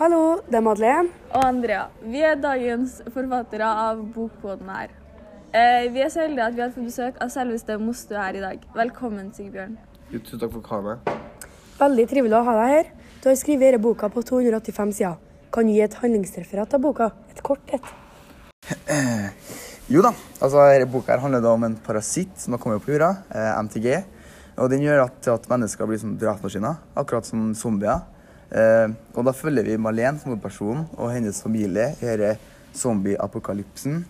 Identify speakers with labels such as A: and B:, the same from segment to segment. A: Hallo, det er Madeleine.
B: og Andrea. Vi er dagens forfattere av Bokboden her. Eh, vi er så heldige at vi har fått besøk av selveste Mostu her i dag. Velkommen, Sigbjørn.
C: Jo, Tusen takk for å ha meg.
A: Veldig trivelig å ha deg her. Du har skrevet denne boka på 285 sider. Kan du gi et handlingsreferat av boka? Et kort et.
D: Jo da, altså denne boka her handler da om en parasitt som har kommet på jorda, eh, MTG. Og den gjør at, at mennesker blir som drapsmaskiner, akkurat som zombier. Eh, og da følger vi Malene som hovedperson og hennes familie i denne zombieapokalypsen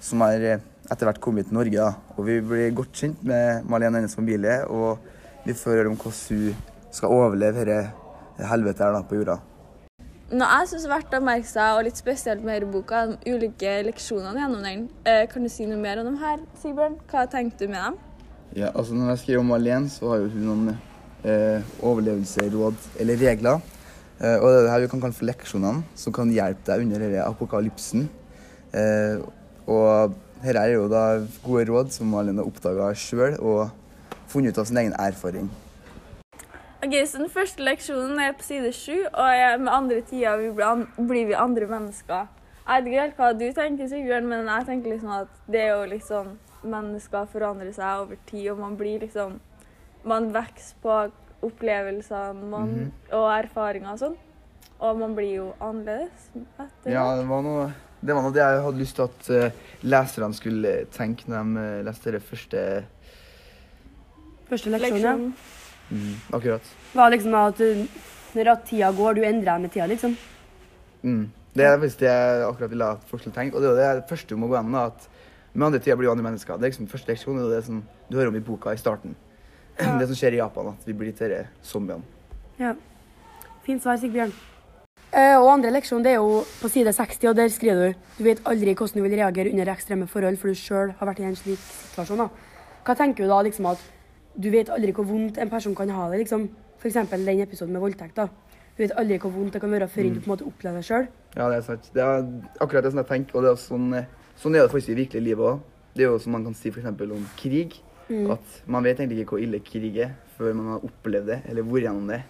D: som har eh, etter hvert kommet til Norge. da. Og vi blir godt kjent med Malene og hennes familie, og vi får høre om hvordan hun skal overleve dette helvetet her da, på jorda.
B: Noe jeg syns er verdt å merke seg, og litt spesielt med denne boka, er de ulike leksjonene gjennom den. Eh, kan du si noe mer om dem her, Sigbjørn? Hva tenkte du med dem?
D: Ja, altså Når jeg skriver om alene, så har jo hun noen eh, overlevelsesråd eller regler. Eh, og det er det her vi kan kalle for leksjonene, som kan hjelpe deg under denne apokalypsen. Eh, og dette er jo da gode råd som Malin har oppdaga sjøl og funnet ut av sin egen erfaring.
B: Ok, så Den første leksjonen er på side sju, og er med andre tida vi blir, an blir vi andre mennesker. Jeg vet ikke helt hva du tenker, Sigbjørn, men jeg tenker liksom at det er jo liksom Mennesker forandrer seg over tid, og man blir liksom Man vokser på opplevelsene man, og erfaringer og sånn. Og man blir jo annerledes etter
D: Ja,
B: det.
D: det var noe det var noe det jeg hadde lyst til at eh, leserne skulle tenke når de eh, leste det første
A: Første leksjon,
B: Leksjonen.
D: Mm. Akkurat.
A: ja. Var liksom at uh, når at tida går, du endrer deg med tida, liksom.
D: Mm. Det er faktisk det jeg akkurat ville at folk skulle tenke. Og det er jo det første du må gå gjennom. da, at Med andre tider blir vi andre mennesker. Det er liksom første leksjon, og det er det som du hører om i boka i starten. Det som skjer i Japan, at vi blir til disse zombiene.
A: Ja. Fint svar, Sigbjørn. Eh, og andre leksjon det er jo på side 60, og der skriver du Du vet aldri hvordan du vil reagere under ekstreme forhold, for du sjøl har vært i en slik situasjon. da. Hva tenker du da, liksom at du vet aldri hvor vondt en person kan ha det, liksom? F.eks. den episoden med voldtekt. da. Du vet aldri hvor vondt det kan være før
D: Mm.
A: du på en måte opplever det sjøl.
D: Ja, det er sant. Det er akkurat det som jeg tenker, og det er også sånn, eh, sånn er det faktisk i virkelig livet òg. Det er jo som man kan si for eksempel om krig. At man vet egentlig ikke hvor ille krig er før man har opplevd det, eller vært gjennom det.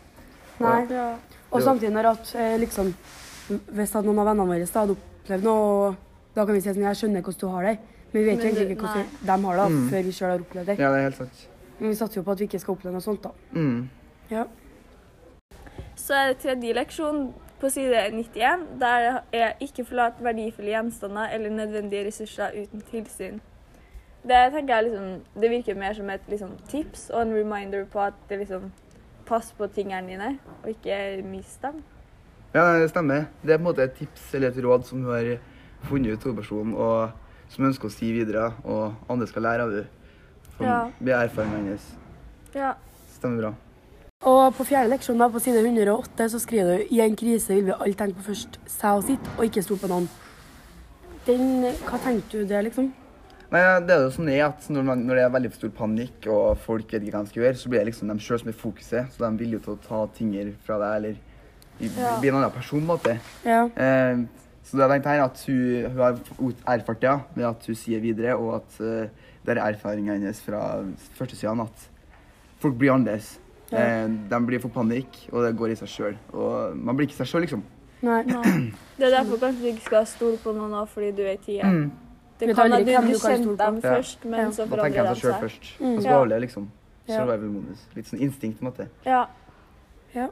A: Nei.
B: Ja.
A: Og
D: Jo.
A: samtidig når at eh, liksom Hvis at noen av vennene våre da hadde opplevd noe, da kan vi si sånn Jeg skjønner hvordan du har det, men vi vet jo
B: Men
A: egentlig
B: det-
A: ikke hvordan de har det
D: Mm.
A: da, før vi sjøl har opplevd det.
D: Ja, det er helt sant.
A: Men vi satser jo på at vi ikke skal oppleve noe sånt, da.
D: Mm.
A: Ja.
B: Så er det tredje leksjon på side 91, der det er 'ikke forlat verdifulle gjenstander eller nødvendige ressurser uten tilsyn'. Det tenker jeg liksom, det virker mer som et liksom, tips og en reminder på at det liksom Pass på tingene dine, og ikke mist dem.
D: Ja, det stemmer. Det er på en måte et tips eller et råd som hun har funnet ut hovedpersonen, og som hun ønsker å si videre, og andre skal lære av henne. Som
B: Ja.
D: blir erfaringen hennes.
B: Ja.
D: Stemmer bra.
A: Og på fjerde leksjon, da, på side 108, så skriver du i en krise vil vi alle tenke på først seg og sitt, og ikke stole på noen. Den Hva tenkte du der, liksom?
D: Nei, det er jo sånn det er at når, man, når det er veldig stor panikk, og folk vet ikke hva de skal gjøre, så blir det liksom dem sjøl som er fokuset, så de er villige til å ta ting fra deg, eller i-
B: Ja.
D: bli en annen person, på en måte.
A: Ja.
D: Eh, så det jeg tenkte her, at hun, hun har ut- erfart det, ja, med at hun sier videre, og at eh, det er erfaringen hennes fra første siden, at folk blir annerledes. Eh, de blir for panikk, og det går i seg sjøl. Og man blir ikke seg sjøl, liksom.
A: Nei.
B: Det er derfor kanskje du ikke skal stole på noen nå fordi du er i tida. Det
A: Vet
B: kan
A: aldri
B: at
A: hvem
B: du, du
A: du kan stole
B: kjente
A: på.
B: dem
D: Ja.
B: først, men
A: Ja.
B: så
D: Da tenker
B: forandrer
D: jeg
B: de
D: seg sjøl
B: seg.
D: først. Og så
B: Ja.
D: overleve, liksom.
A: Ja.
D: Survival-modus. Litt sånn instinkt, på en måte.
B: Ja.
A: Ja.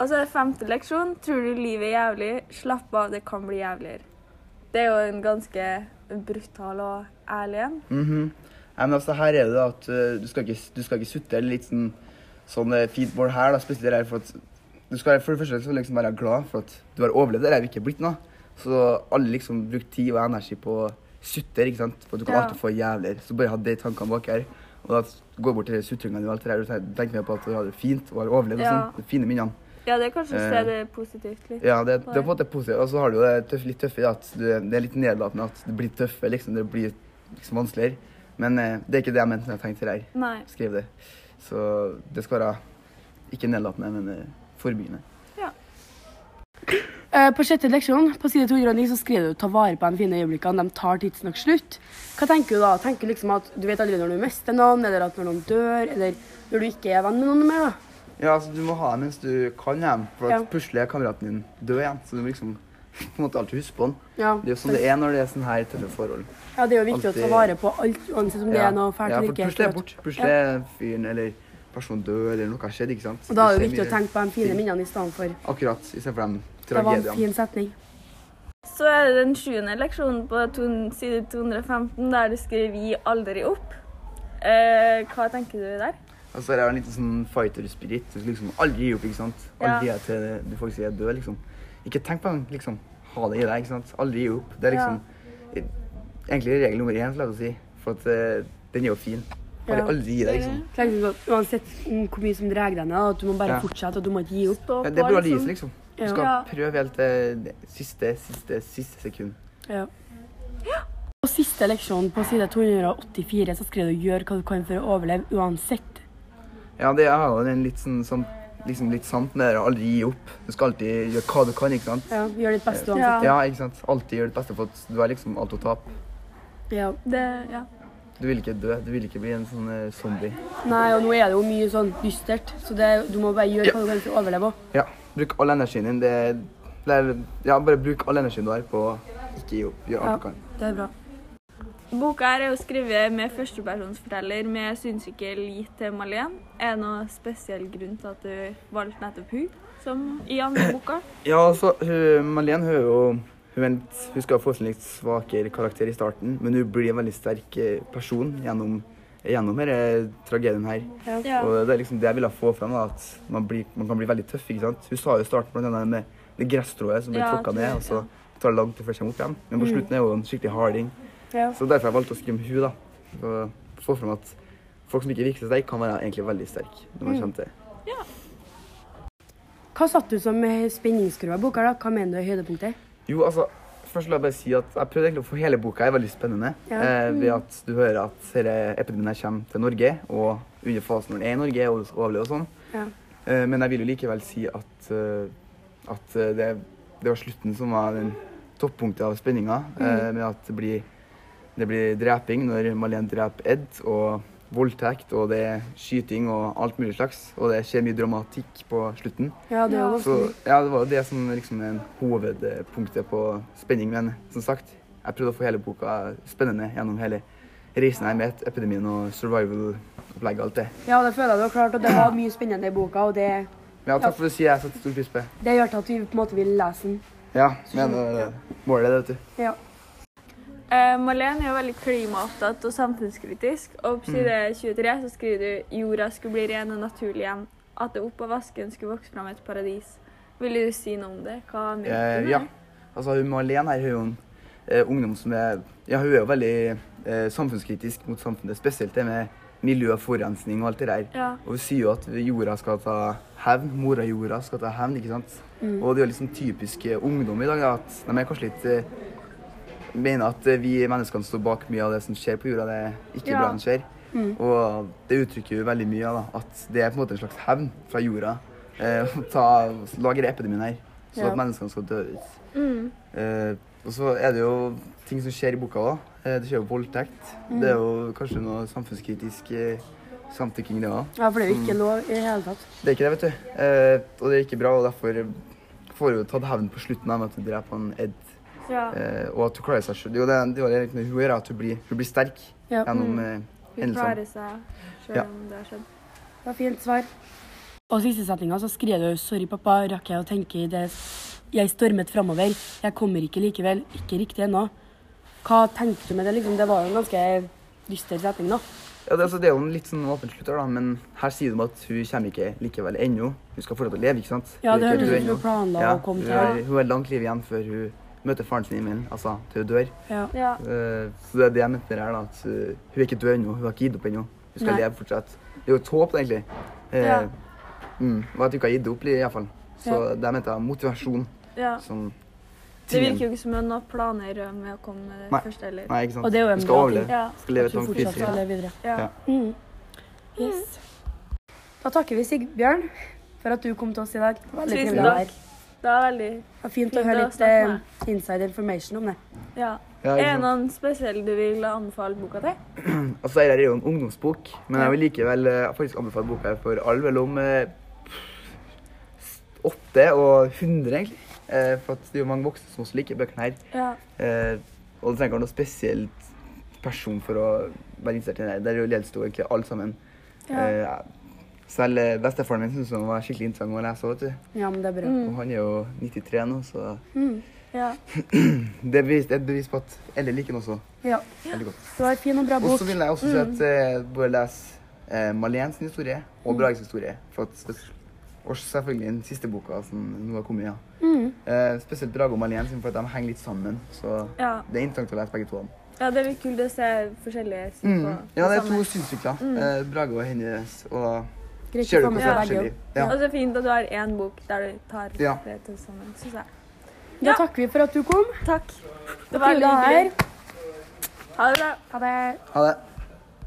B: Og så er det femte leksjon. Tror du livet er jævlig? Slapp av, det kan bli jævligere. Det er jo en ganske brutal og ærlig en.
D: Mhm. Nei, men altså, her er det da at eh, du skal ikke, du skal ikke sutte eller litt sånn, sånn eh, fint mål her, da, spesielt her, for at du skal for det første så liksom være glad for at du har overlevd eller er ikke blitt noe. Så alle liksom bruker tid og energi på å sutte, ikke sant, for at du kan
B: Ja.
D: alltid få jævler. Så bare ha de tankene bak her, og da gå bort til de sutringene og alt det der, og tenk- tenk mer på at du har det fint og har overlevd og
B: Ja.
D: sånn, de fine minnene.
B: Ja, det er kanskje
D: Eh.
B: stedet positivt litt.
D: Ja, det, det er på en måte positivt, og så har du jo det tøff, litt tøffe i det at du, det er litt nedlatende at du blir tøffe, liksom, det blir liksom vanskeligere. Men eh, det er ikke det jeg mente når jeg tenkte her
B: Nei.
D: skrev det. Så det skal være ikke nedlatende, men eh, forebyggende.
A: Eh, På sjette leksjon, på side 209, så skriver du 'ta vare på de fine øyeblikkene', de tar tidsnok slutt. Hva tenker du da? Tenker du liksom at du vet aldri når du mister noen, eller at når noen dør, eller når du ikke er venn med noen mer, da?
D: Ja, altså, du må ha dem mens du kan dem, for
A: Ja.
D: at plutselig er kameraten din død igjen. Så du må liksom på en måte alltid huske på den.
A: Ja.
D: Det er jo sånn det er når det er sånn her tøffe forhold.
A: ja, det er jo viktig å ta
D: Alltid-
A: vare på alt, uansett om det
D: Ja.
A: er noe fælt
D: ja,
A: eller
D: for
A: ikke.
D: plutselig
A: for
D: er
A: at-
D: bort. Plutselig er fyren eller personen død, eller noe har skjedd, ikke sant?
A: Og da er det
D: skjer
A: jo viktig å
D: mye.
A: tenke på de fine minnene i stedet for
D: Akkurat, i stedet for de
A: Det var en
D: tragediene.
A: fin setning.
B: Så er det den sjuende leksjonen på to- side 215, der du skriver 'gi aldri opp'. Eh, hva tenker du der?
D: Og så er det en liten sånn fighter-spirit. du Liksom aldri gi opp, ikke sant?
B: Ja.
D: Aldri gi deg til du faktisk er død, liksom. Ikke tenk på den, liksom. Ha det i deg, ikke sant? Aldri gi opp. Det er liksom eh, egentlig regel nummer én, la oss si. For at eh, den er jo fin. Bare
A: Ja.
D: aldri gi deg, liksom.
A: Tenk deg at Uansett mm, hvor mye som drar deg ned, at du må bare
D: Ja.
A: fortsette og du må ikke gi opp.
B: Stå
D: Ja, det er
B: på, sånn-
D: bra liv, liksom. Du skal
B: Ja.
D: prøve helt til det siste, siste, siste sekund.
A: Ja. På siste leksjon, på side 284, så skrev du 'gjør hva du kan for å overleve uansett'.
D: Ja, det er jo den litt sånn, sånn liksom litt sant med det å aldri gi opp. Du skal alltid gjøre hva du kan, ikke sant?
A: Ja, Gjør ditt beste
B: Ja.
A: uansett.
D: Ja, ikke sant? Alltid gjøre ditt beste, for at du har liksom alt å tape.
A: Ja.
B: Det, ja.
D: Du vil ikke dø, du vil ikke bli en sånn eh, zombie.
A: Nei, og nå er det jo mye sånn dystert, så det, du må bare gjøre hva du kan for å overleve òg.
D: Ja, bruk all energien din. Det, det er, ja, bare bruk all energien du har på å ikke gi opp. Gjør alt du
A: Ja.
D: kan.
A: Det er bra.
B: Boka her er jo skrevet med førstepersonsforteller med synssykkel gitt til Malene. Er det noen spesiell grunn til at du valgte nettopp hun som i andre boka?
D: Ja, altså, hun, Malene hun er jo hun, er litt, hun skal få en litt svakere karakter i starten, men hun blir en veldig sterk eh, person gjennom, gjennom denne tragedien her.
B: Ja.
D: Og det er liksom det jeg ville få fram, da, at man, blir, man kan bli veldig tøff. ikke sant? Hun sa jo i starten blant annet med det gresstrået som blir
B: Ja, Mm.
D: tråkka
B: det-
D: ned, og så tar det lang tid før det kommer opp igjen. Men på slutten er hun en skikkelig harding.
A: Ja.
D: Så derfor har jeg valgt å skrive om hun da. For å få fram at folk som ikke virker så sterke, kan være egentlig veldig sterke. når man kommer til.
A: Hva satt du som eh, spenningskurve i boka? da? Hva mener du er høydepunktet?
D: Jo, altså, først la jeg bare si at jeg prøvde egentlig å få hele boka her veldig spennende.
A: Ja.
D: Eh, ved at du hører at denne epidemien her kommer til Norge, og under fasen når den er i Norge og overlever og sånn.
A: Ja.
D: Eh, men jeg vil jo likevel si at, eh, at eh, det, det var slutten som var den toppunktet av spenninga.
A: Mm.
D: Eh, med at det blir, det blir dreping når Malene dreper Ed, og voldtekt, og det er skyting og alt mulig slags. Og det skjer mye dramatikk på slutten.
A: Ja, det er jo
B: Ja.
A: ganske
D: Så
A: mye.
D: ja, det var jo det som liksom er hovedpunktet på spenning. Men som sagt, jeg prøvde å få hele boka spennende gjennom hele reisen her med epidemien og survival-opplegget og alt det.
A: Ja, det føler jeg du har klart, og det var mye spennende i boka, og det,
D: Men ja, takk for at du sier jeg setter stor pris på det.
A: det gjør til at vi på en måte vil lese den.
D: Ja, men eh, målet er det, vet du.
A: Ja.
B: Eh, Malene er jo veldig klimaopptatt og samfunnskritisk, og på side
D: Mm.
B: 23 så skriver du jorda skulle bli ren og naturlig igjen, at det opp av vasken skulle vokse fram et paradis. Vil du si noe om det? Hva mente du?
D: Eh,
B: med
D: ja.
B: det?
D: Altså, hun Malene her, hun er jo en eh, ungdom som er Ja, hun er jo veldig eh, samfunnskritisk mot samfunnet, spesielt det med miljø og forurensning og alt det der.
B: Ja.
D: Og hun sier jo at jorda skal ta hevn, mora jorda skal ta hevn, ikke sant. Og det er jo liksom typisk eh, ungdom i dag, da, at de er kanskje litt eh, mener at eh, vi menneskene står bak mye av det som skjer på jorda. Det er ikke
B: Ja.
D: bra som skjer. Og det uttrykker jo veldig mye av da, at det er på en måte en slags hevn fra jorda. Eh, å ta, lage den epidemien her, så
A: Ja.
D: at menneskene skal dø ut. Eh, og så er det jo ting som skjer i boka òg. Eh, det skjer jo voldtekt. Det er jo kanskje noe samfunnskritisk eh, samtykking, det òg.
A: ja, for det er jo
D: Mm.
A: ikke lov i det hele tatt.
D: Det er ikke det, vet du. Eh, og det er ikke bra, og derfor får hun jo tatt hevn på slutten av med at hun dreper han Ed.
B: Ja.
D: Eh, og at hun klarer seg selv. Det er jo det, det, er jo det liksom hun gjør, at hun blir, hun blir sterk
A: Ja.
D: gjennom eh,
B: Hun
D: hendelsene.
B: klarer seg selv
D: Ja.
B: om det har skjedd.
A: Det var fint svar. Og siste setninga så skrev du 'Sorry, pappa, rakk jeg å tenke i det Jeg stormet framover. Jeg kommer ikke likevel. Ikke riktig ennå. Hva tenkte du med det? liksom? Det var jo en ganske dyster setning, da.
D: Ja, det, er altså, det er jo en litt sånn åpen slutt her, da, men her sier de at hun kommer ikke likevel ennå. Hun skal fortsatt leve, ikke sant?
A: Ja,
D: Hun er
A: det
D: ikke
A: hørtes
D: død
A: ut som
D: ennå.
A: du planla
D: Ja,
A: å komme
D: hun
A: til.
D: har, hun har langt liv igjen før hun møter faren sin i himmelen, altså til hun dør.
A: Ja.
B: Ja.
D: Eh, så det er det jeg mente her, da, at eh, hun er ikke død ennå, hun har ikke gitt opp ennå. Hun skal
A: Nei.
D: leve fortsatt. Det er jo et håp, egentlig. Eh,
B: Ja.
D: mm, og at hun ikke har gitt opp, i hvert fall. Så der mente jeg motivasjon
B: ja.
D: som
B: Det
D: tingen.
B: virker jo ikke som hun har noen planer med å komme med det
D: Nei.
B: første heller.
D: Nei, ikke sant.
A: Og det er jo en bra
D: hun skal overleve.
B: Ja.
D: Skal leve
A: At
D: et
A: hun
D: langt
A: fortsatt skal
D: liv.
A: leve videre.
B: Ja.
D: Ja.
A: Mm. Yes. Da takker vi Sigbjørn for at du kom til oss i dag. Veldig
B: Tusen
A: trivelig å
B: takk.
A: være her.
B: Det var veldig
A: Det var Fint å
B: Fint
A: høre
B: å
A: litt
B: snakke med
A: eh, inside information om det.
B: Ja.
D: Ja,
B: Er
D: ikke
B: det
D: sant.
B: noen spesielle du vil anbefale boka til?
D: Altså, dette er jo en ungdomsbok, men jeg vil likevel eh, faktisk anbefale boka her for alle, mellom eh, 80 og 100, egentlig. Eh, for at det er jo mange voksne som også liker bøkene her.
B: Ja.
D: Eh, og du trenger ikke ha noe spesielt person for å være interessert i det. her. Der gjelder det jo egentlig alle sammen.
B: Ja.
D: Eh, selv eh, bestefaren min syntes den var skikkelig interessant å lese. Vet du.
A: Ja, men det er bra.
D: Og han er jo 93 nå, så
B: Mm, ja.
D: det er bevis, det er et bevis på at Elle liker den også
A: Ja.
D: veldig godt.
A: Det var en fin og bra
D: Og
A: bok. Mm.
D: så vil jeg også si at eh, bare les eh, Malene sin historie og Brages historie. For at, spes- og selvfølgelig den siste boka som nå har kommet. ja.
A: Mm.
D: Eh, spesielt Brage og Malene sin, for at de henger litt sammen. Så
B: Ja.
D: det er interessant å lese begge to. av dem.
B: ja, det er litt kult å se forskjellige sider
D: Mm.
B: på
D: Ja, det er
B: samme.
D: to synsvinkler. Eh, Brage og hennes og
A: Greit å
D: Ser du
A: få med
D: på
A: seg
B: Ja.
A: begge.
D: forskjellig? Ja.
B: Og så fint at du har én bok der du tar
D: Ja.
B: det til sammen, synes jeg.
A: Da takker vi for at du kom.
B: Takk. Det var
A: Matilda
B: veldig
A: her.
B: hyggelig. Ha det bra.
A: Ha det.
D: Ha det.